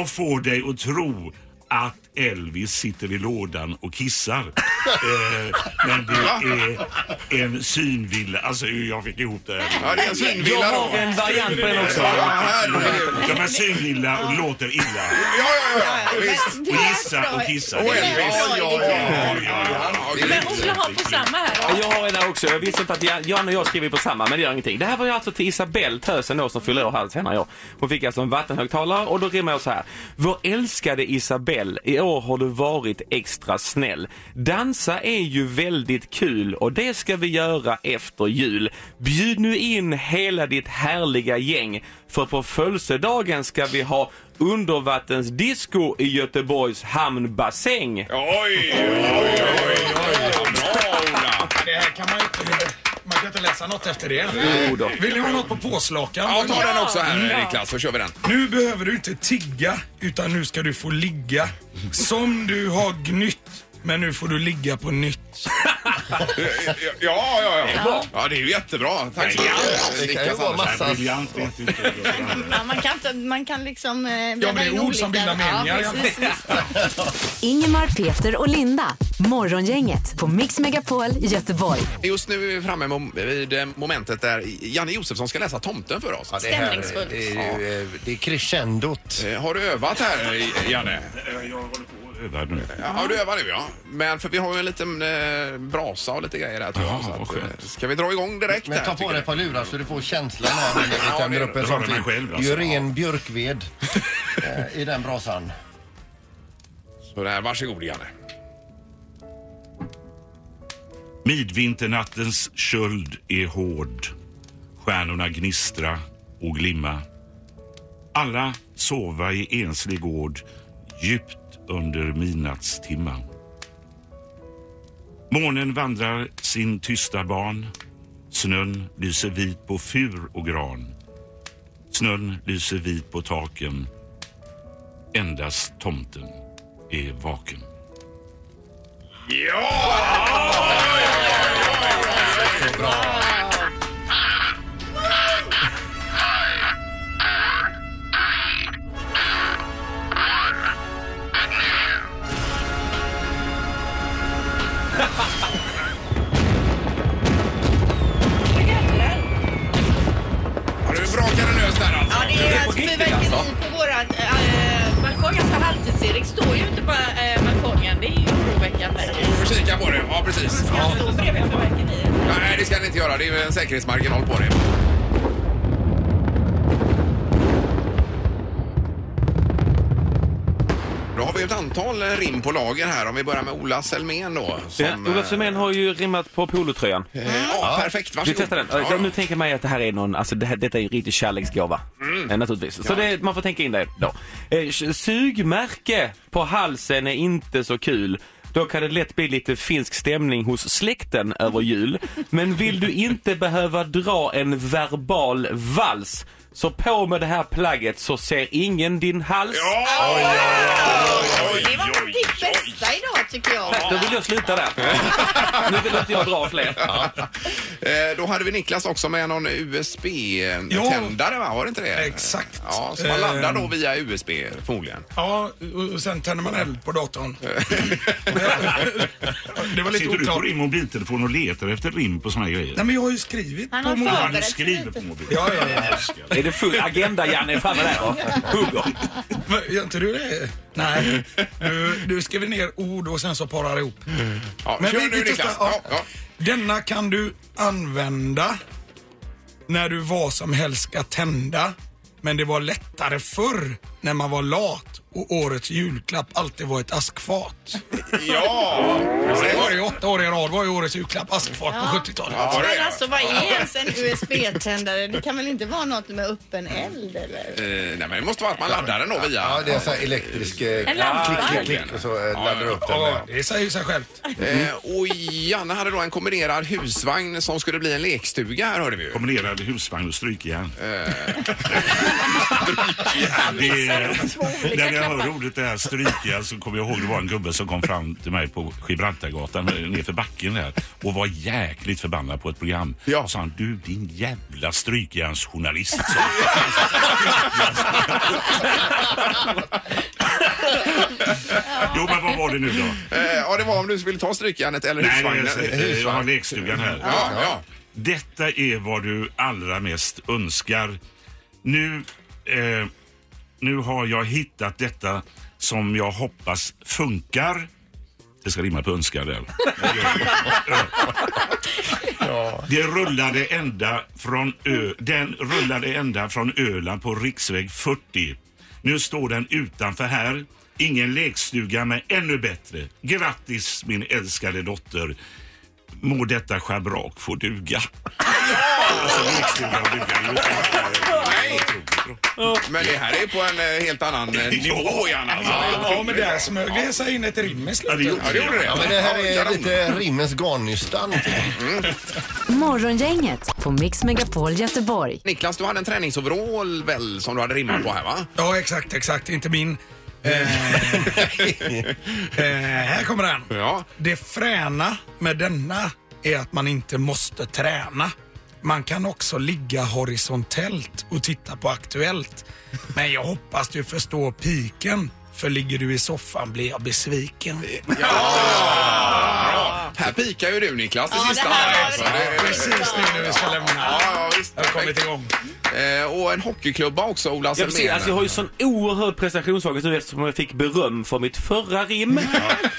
S10: och få dig att tro att Elvis sitter i lådan och kissar. Eh, men det är en synvilla. Alltså hur jag fick ihop det här.
S1: Ja, det är en synvilla Jag har då. en variant på den också.
S10: Ja,
S1: herregud.
S10: De är synvilla och låter illa.
S1: Ja, ja, ja. Visst.
S10: Och gissar och kissar.
S1: Och Elvis.
S10: Ja, ja, ja, ja, ja.
S5: Men hon vill ha på samma här. då.
S8: Jag har en här också. Jag visste inte att Jan- Jan och jag skriver på samma, men det gör ingenting. Det här var ju alltså till Isabelle Tösen då som fyller år här senare i år. Hon fick alltså en vattenhögtalare och då rimmar jag så här. Vår älskade Isabelle, i år har du varit extra snäll. Dansa är ju väldigt kul och det ska vi göra efter jul. Bjud nu in hela ditt härliga gäng för på födelsedagen ska vi ha undervattensdisco i Göteborgs hamnbassäng.
S7: Det här kan man ju inte... Man kan inte läsa något efter det.
S8: Jo då.
S7: Vill ni ha något på påslakan?
S1: Ja, ta den också här eh,
S7: Ja.
S1: Niklas så kör vi den.
S7: Nu behöver du inte tigga, utan nu ska du få ligga. Som du har gnytt, men nu får du ligga på nytt.
S1: Ja, Eh, ja, ja. Ja, ja det är ju jättebra. Tack så mycket.
S2: Det kan ju
S1: Niklas
S2: vara
S1: Andersson.
S2: massa...
S3: Ja, man, kan inte, man kan liksom... Eh,
S7: Ja, men det är ord som bildar meningar.
S3: Ja, precis.
S4: Ingemar, Peter och Linda. Morgongänget på Mix Megapol Göteborg.
S1: Just nu är vi framme mom- vid eh, momentet där Janne Josefsson ska läsa tomten för oss.
S2: Det, här, det, är, ju, eh, det är crescendot.
S1: Eh, Har du övat här, eh, Janne?
S10: Jag håller på att öva nu.
S1: Ja, har du övat nu ja. Men för vi har ju en liten eh, brasa och lite grejer här tror jag. Så att, eh, ska vi dra igång direkt
S2: Men
S1: här,
S2: ta på
S1: tycker
S2: dig ett par lurar så du får känslan av det. Vi tänder
S1: det-
S2: upp en
S10: det
S2: sån
S10: håller man
S2: fin-
S10: själv,
S2: det är
S10: alltså.
S2: ju ren björkved eh, i den brasan.
S1: du? Så där, varsågod Janne.
S10: Midvinternattens köld är hård. Stjärnorna gnistra och glimma. Alla sova i enslig gård djupt under midnattstimman. Månen vandrar sin tysta ban. Snön lyser vit på fur och gran. Snön lyser vit på taken. Endast tomten är vaken.
S1: Har du brakat den lös där alltså?
S5: Ja, det är alltså fyrverkeri på vårat äh,
S3: eh,
S5: balkong. Alltså halvtids-Erik står ju inte på äh, balkongen. Det är ju oroväckande.
S1: Får vi Kika på det. Ja, precis.
S5: Ska han stå bredvid fyrverkeriet?
S1: Nej, det ska ni inte göra. Det är ju en säkerhetsmarginal på det. Då har vi ett antal eh, rim på lager här. Om vi börjar med Ola Selmén då. Som,
S8: Ja, Olof Semén har ju rimmat på polotröjan.
S1: eh, ja, perfekt.
S8: Vi
S1: Varsågod.
S8: testar den.
S1: Ja,
S8: Jag nu tänker man ju att det här är någon, alltså det här, detta är ju riktigt kärleksgåva.
S1: Mm.
S8: Eh, Naturligtvis. Så det, man får tänka in det då. Eh, s- sugmärke på halsen är inte så kul. Då kan det lätt bli lite finsk stämning hos släkten över jul. Men vill du inte behöva dra en verbal vals så på med det här plagget så ser ingen din hals.
S3: Det var nog ditt bästa idag tycker jag.
S8: Eh, Då vill jag sluta där. nu vill inte jag dra fler.
S1: ja. Eh, Då hade vi Niklas också med någon USB-tändare, va? Var det inte det?
S7: Exakt.
S1: Ja, så man laddar då
S7: Ehm.
S1: via USB förmodligen.
S7: Ja, och- och sen tänder man eld på datorn. det var lite
S10: Sitter du på
S7: oklart.
S10: din mobiltelefon och letar efter rim på såna här grejer?
S7: Nej, men jag har ju skrivit
S3: Han
S7: på
S3: har
S7: mobilen.
S10: Ja,
S3: förberett
S10: du
S3: sig
S10: skriver
S3: lite.
S10: på mobilen.
S7: Ja, ja, ja.
S8: Är det full agenda Janne framme där? va? Hugger.
S7: Men Gör inte du det? Nej. Du, du skriver ner ord och sen så parar ihop.
S1: Ja,
S7: Men
S1: kör
S7: vi-
S1: nu
S7: vi testar,
S1: Niklas.
S7: ja.
S1: Ja, ja.
S7: Denna kan du använda när du vad som helst ska tända. Men det var lättare förr när man var lat och årets julklapp alltid var ett askfat.
S1: Ja,
S7: Det var det ju åtta år i rad var ju årets julklapp askfat på 70-talet.
S1: Ja, det är
S3: Men
S1: det.
S3: alltså vad är ens en USB-tändare? Det kan väl inte vara något med öppen eld eller?
S1: Eh, nej, men det måste vara att man laddar den då via...
S2: Ja, det är så här elektrisk... eh,
S5: En lampa.
S2: Klick, klick, klick och så eh, laddar du upp den.
S7: Ja,
S2: med-
S7: det säger sig självt.
S2: Mm.
S1: Eh, och Janne hade då en kombinerad husvagn som skulle bli en lekstuga här hörde vi ju.
S10: Kombinerad husvagn och strykjärn. Strykjärn. Det är- Den är jag hör ordet det här stryka så alltså, kommer jag ihåg det var en gubbe som kom fram till mig på Gibraltargatan nerför backen där och var jäkligt förbannad på ett program. Ja. Sa han, du din jävla strykjärnsjournalist. sa han. jo men vad var det nu då?
S1: Eh, ja, det var om du ville ta strykjärnet eller
S10: Nej,
S1: husvagnen. Eh,
S10: nej, jag- jag har lekstugan här.
S1: Ja, ja.
S10: Detta är vad du allra mest önskar. Nu, eh, nu har jag hittat detta som jag hoppas funkar. Det ska rimma på önskar där. Det rullade ända från ö, den rullade ända från Öland på riksväg 40. Nu står den utanför här. Ingen lekstuga men ännu bättre. Grattis min älskade dotter. Må detta schabrak få duga.
S7: Alltså,
S1: Men det här är på en eh, helt annan eh, nivå, Janne. alltså.
S7: Ja, men där smög det sig in ett rim i slutet.
S1: Ja, det gjorde det.
S2: Ja, men det här
S1: Ja,
S2: är
S1: kanon.
S2: lite rimmens garnnystan.
S4: Morgongänget på Mix Megapol Göteborg.
S1: Niklas, du hade en träningsoverall väl som du hade rimmat på här va?
S7: Ja, exakt, exakt. Inte min. Eh, här kommer den.
S1: Ja.
S7: Det fräna med denna är att man inte måste träna. Man kan också ligga horisontellt och titta på Aktuellt. Men jag hoppas du förstår piken. För ligger du i soffan blir jag besviken.
S1: Här pikar ju du Niklas det
S7: Ja, det
S1: sista.
S7: här
S1: här,
S7: var
S1: alltså.
S7: det.
S1: Det- det-
S7: Precis det nu vi ska lämna.
S1: Ja, ja, visst.
S7: Jag har kommit igång.
S1: Eh, och en hockeyklubba också, Ola
S8: Jag, precis,
S1: Selmén.
S8: alltså jag har ju sån oerhörd prestationsångest nu eftersom jag fick beröm för mitt förra rim.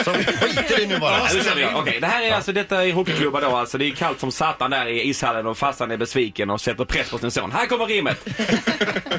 S2: Skit i det nu bara.
S8: Ja, nu kör vi. Okej, det här är alltså, detta är hockeyklubbar då alltså. Det är kallt som satan där i ishallen och farsan är besviken och sätter press på sin son. Här kommer rimmet.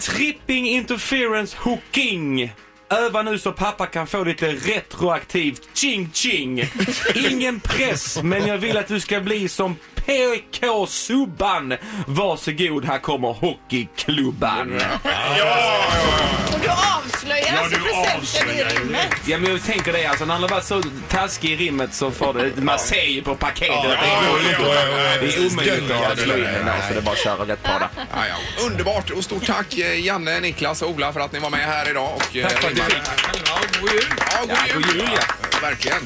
S8: Tripping interference hooking. Öva nu så pappa kan få lite retroaktivt ching ching. Ingen press, men jag vill att du ska bli som PK Subban. Varsågod, här kommer hockeyklubban.
S3: Och du avslöjar
S10: Ja,
S3: alltså
S10: du
S3: presenten i
S10: avslöjar ju
S3: rimmet.
S8: Ja men jag tänker det alltså, när han har varit så taskig i rimmet så får det, man ser ju på paketet att det går ju inte att- Det är omöjligt att avslöja den här, så det är bara att köra rätt på det.
S1: Ja, ja. Underbart och stort tack eh, Janne, Niklas och Ola för att ni var med här idag. Och, eh,
S8: Tack för att ni
S1: rimmade.
S8: fick.
S1: Ja, god jul!
S8: jul,
S1: ja. Verkligen.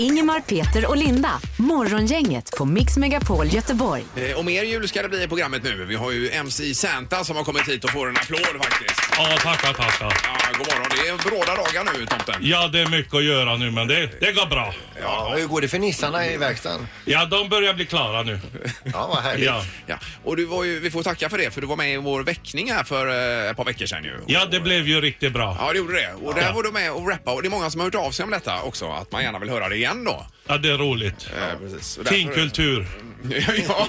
S4: Ingemar, Peter och Linda. Morgongänget på Mix Megapol Göteborg.
S1: Eh, Och mer jul ska det bli i programmet nu. Vi har ju MC Santa som har kommit hit och får en applåd faktiskt.
S12: Ja, tackar, tackar.
S1: Ja, god morgon. Det är bråda dagar nu, tomten.
S12: Ja, det är mycket att göra nu, men det, det går bra.
S2: Ja, hur går det för nissarna i verkstaden?
S12: Ja, de börjar bli klara nu.
S2: Ja, vad härligt.
S12: Ja.
S1: Ja. Och du var ju, vi får tacka för det, för du var med i vår väckning här för eh, ett par veckor sedan ju.
S12: Ja, det blev ju riktigt bra.
S1: Ja, det gjorde det. Och där var du med och rappade. Och det är många som har hört av sig om detta också, att man gärna vill höra det igen då.
S12: Ja, det är roligt.
S1: Eh, precis. Och
S12: Fin
S1: därför-
S12: kultur.
S1: ja.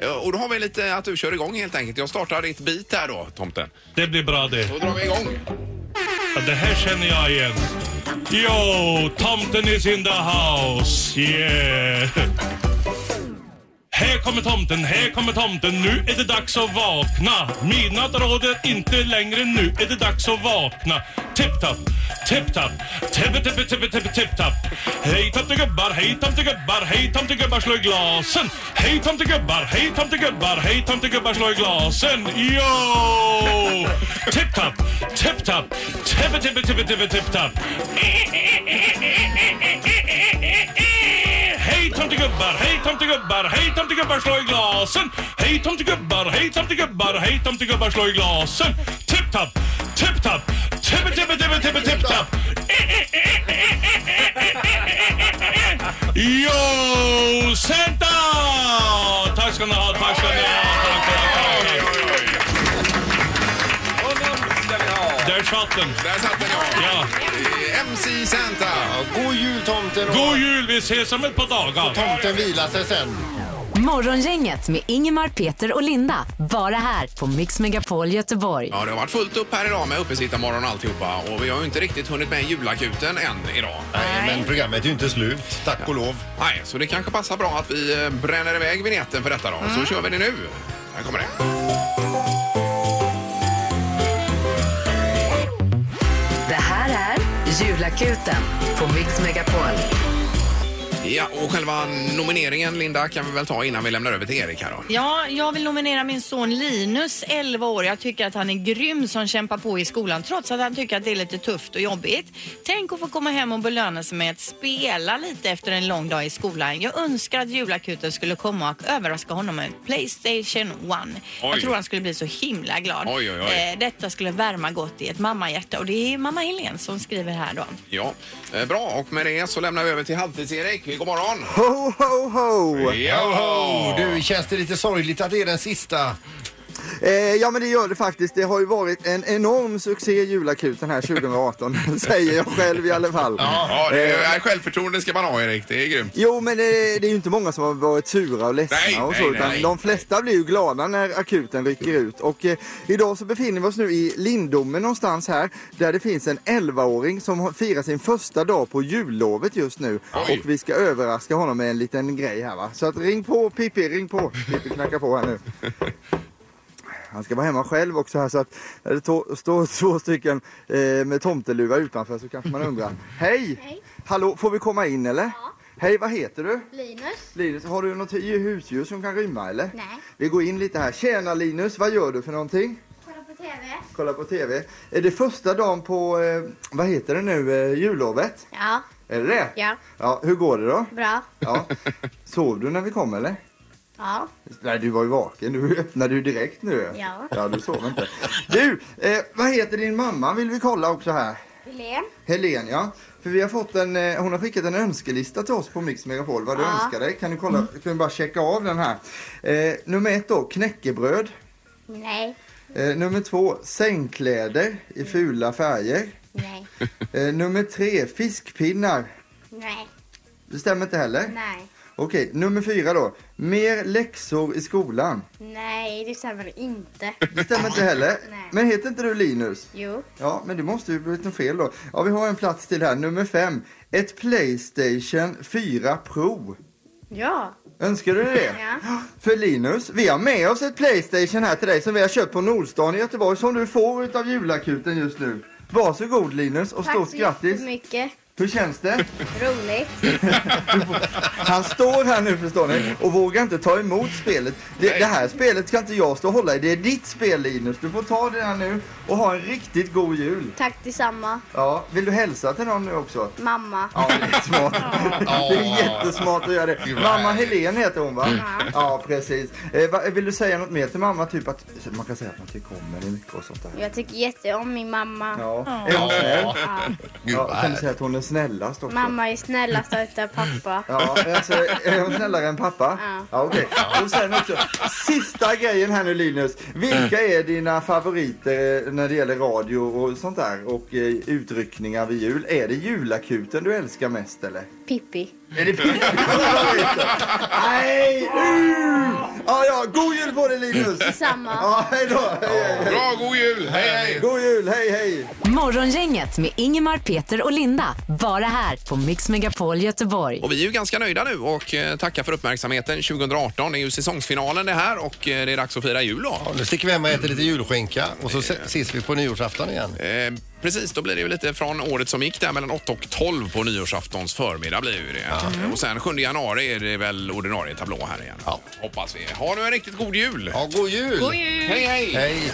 S1: ja. Och då har vi lite att du kör igång helt enkelt. Jag startar ditt beat här då, tomten.
S12: Det blir bra det.
S1: Då drar vi igång.
S12: Ja, det här känner jag igen. Yo, tomten is in the house. Yeah. Här kommer tomten, här kommer tomten, nu är det dags att vakna. Midnatt råder inte längre, nu är det dags att vakna. Tipp-tapp, tipp-tapp, tippe tippe tippe tippe tipp-tapp. Hej tomtegubbar, hej tomtegubbar, hej tomtegubbar slå i glasen. Hej tomtegubbar, hej tomtegubbar, hej tomtegubbar slå i glasen. Yo! Tipp-tapp, tipp-tapp, tippe tippe tippe tippe tipp-tapp. Hej tomtegubbar, hej tomtegubbar, hej tomtegubbar slå i glasen. Hej tomtegubbar, hej tomtegubbar, hej tomtegubbar slå i glasen. Tipp-tapp, tipp-tapp, tippe tippe tippe tippe tipp-tapp. Yo, Santa! Tack ska ni ha, tack ska ni ha. tack ska ni ha, tack. Där satt den.
S1: Där satt den
S12: Ja.
S1: Eh, MC Santa.
S2: God jul tomten och
S12: God jul, vi ses om ett par dagar.
S2: tomten vila sig sen.
S4: Morgongänget med Ingemar, Peter och Linda. Bara här på Mix Megapol Göteborg.
S1: Ja, det har varit fullt upp här idag med uppesittarmorgon och alltihopa. Och vi har ju inte riktigt hunnit med julakuten än idag.
S2: Nej, men programmet är ju inte slut, tack och lov.
S1: Nej, så det kanske passar bra att vi eh, bränner iväg vignetten för detta då. Så kör vi det nu. Här kommer det.
S4: Det här är Julakuten på Mix Megapol.
S1: Ja, och själva nomineringen, Linda, kan vi väl ta innan vi lämnar över till Erik här då.
S3: Ja, jag vill nominera min son Linus, 11 år. Jag tycker att han är grym som kämpar på i skolan trots att han tycker att det är lite tufft och jobbigt. Tänk att få komma hem och belöna sig med att spela lite efter en lång dag i skolan. Jag önskar att julakuten skulle komma och överraska honom med Playstation 1.
S13: Oj.
S3: Jag tror han skulle bli så himla glad.
S1: Oj, oj, oj.
S3: Eh, Detta skulle värma gott i ett mammahjärta och det är mamma Helene som skriver här då.
S1: Ja, eh, bra. Och med det så lämnar vi över till Halvtids-Erik. God morgon!
S6: Ho, ho, ho!
S1: Ja.
S2: Oh, Du, känns det lite sorgligt att det är den sista?
S6: Eh, ja men det gör det faktiskt. Det har ju varit en enorm succé i julakuten här 2018. säger jag själv i alla fall.
S1: Ja, det
S6: Eh,
S1: är, självförtroende ska man ha, Erik. Det är grymt.
S6: Jo, men det, det är ju inte många som har varit sura och ledsna
S1: Nej,
S6: och så,
S1: nej,
S6: utan
S1: nej.
S6: de flesta blir ju glada när akuten rycker ut. Och eh, idag så befinner vi oss nu i Lindome någonstans här, där det finns en 11-åring som har- firar sin första dag på jullovet just nu.
S1: Oj.
S6: Och vi ska överraska honom med en liten grej här va. Så att ring på Pippi, ring på. Pippi knackar på här nu. Han ska vara hemma själv också här så att när det to- står två stycken eh, med tomteluva utanför så kanske man undrar. Hej! Hallå, får vi komma in eller? Hej, vad heter du?
S14: Linus?
S6: Linus, har du något hu- husdjur som kan rymma eller?
S14: Nej.
S6: Vi går in lite här. Tjena Linus, vad gör du för någonting?
S14: Kolla på TV?
S6: Kolla på TV. Är det första dagen på, eh, vad heter det nu, eh, jullovet?
S14: Ja.
S6: Är det det?
S14: Ja.
S6: Ja, hur går det då?
S14: Bra.
S6: Ja. Sov du när vi kom eller?
S14: Ja.
S6: Nej, du var ju vaken. Du öppnade ju direkt nu.
S14: Ja.
S6: Ja, du sov inte. Du, eh, vad heter din mamma vill vi kolla också här.
S14: Helene?
S6: Helen, ja. För vi har fått en, eh, hon har skickat en önskelista till oss på Mix Megapol vad du
S14: Ja.
S6: önskar dig. Kan du kolla, kan du bara checka av den här. Eh, nummer ett då, knäckebröd.
S14: Nej.
S6: Eh, nummer två, sängkläder i fula färger.
S14: Nej.
S6: Eh, nummer tre, fiskpinnar.
S14: Nej.
S6: Det stämmer inte heller.
S14: Nej.
S6: Okej, nummer fyra då. Mer läxor i skolan.
S14: Nej, det stämmer inte.
S6: Det stämmer inte heller.
S14: Nej.
S6: Men heter inte du Linus?
S14: Jo.
S6: Ja, men det måste ju blivit något fel då. Ja, vi har en plats till här. Nummer fem. Ett Playstation 4 Pro.
S14: Ja.
S6: Önskar du dig det?
S14: Ja.
S6: För Linus, vi har med oss ett Playstation här till dig som vi har köpt på Nordstan i Göteborg som du får utav julakuten just nu. Varsågod Linus och
S14: Tack
S6: stort
S14: så
S6: grattis.
S14: jättemycket.
S6: Hur känns det?
S14: Roligt.
S6: Han står här nu förstår ni och vågar inte ta emot spelet. Det, det här spelet ska inte jag stå och hålla i. Det är ditt spel Linus. Du får ta det här nu och ha en riktigt god jul.
S14: Tack detsamma.
S6: Ja, vill du hälsa till någon nu också?
S14: Mamma.
S6: Ja, det är smart. Det är jättesmart att göra det. Mamma Helene heter hon va? Ja, precis. Eh, va, vill du säga något mer till mamma? Typ att man kan säga att man tycker om henne mycket och sånt där.
S14: Jag tycker jätte om min mamma.
S6: Ja, är hon snäll? Ja, kan du säga att hon är snällast också?
S14: Mamma är snällast utav pappa.
S6: Ja, alltså, är hon snällare än pappa?
S14: Ja.
S6: Ja, okej. Och sen också, sista grejen här nu Linus. Vilka är dina favoriter eh, när det gäller radio och sånt där och eh, utryckningar vid jul? Är det julakuten du älskar mest eller?
S14: Pippi.
S6: Är det Pippi? Nej! Uh! Ja, ja, god jul på dig Linus!
S14: Detsamma.
S6: Ja, hej då! Hej, hej, hej.
S1: Bra, god jul! Hej, hej!
S6: God jul, hej, hej!
S4: Morgongänget med Ingemar, Peter och Linda. Bara här på Mix Megapol Göteborg.
S1: Och vi är ju ganska nöjda nu och eh, tackar för uppmärksamheten. 2018 det är ju säsongsfinalen det här och eh, det är dags att fira jul då.
S2: Nu sticker vi hem och äter lite julskinka och så se- ses vi på nyårsafton igen.
S1: Eh, precis, då blir det ju lite från året som gick där mellan 8 och 12 på nyårsaftons förmiddag blir ju det. Eh, Och sen 7 januari är det väl ordinarie tablå här igen. Hoppas vi. Ha nu en riktigt god jul!
S2: Ja, god jul!
S1: God jul! Hej, hej!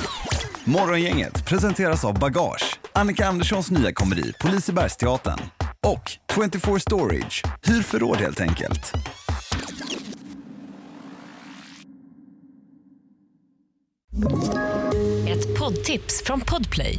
S15: Morgongänget presenteras av Bagage, Annika Anderssons nya komedi på Lisebergsteatern och 24 Storage, hyr förråd helt enkelt.
S16: Ett poddtips från Podplay.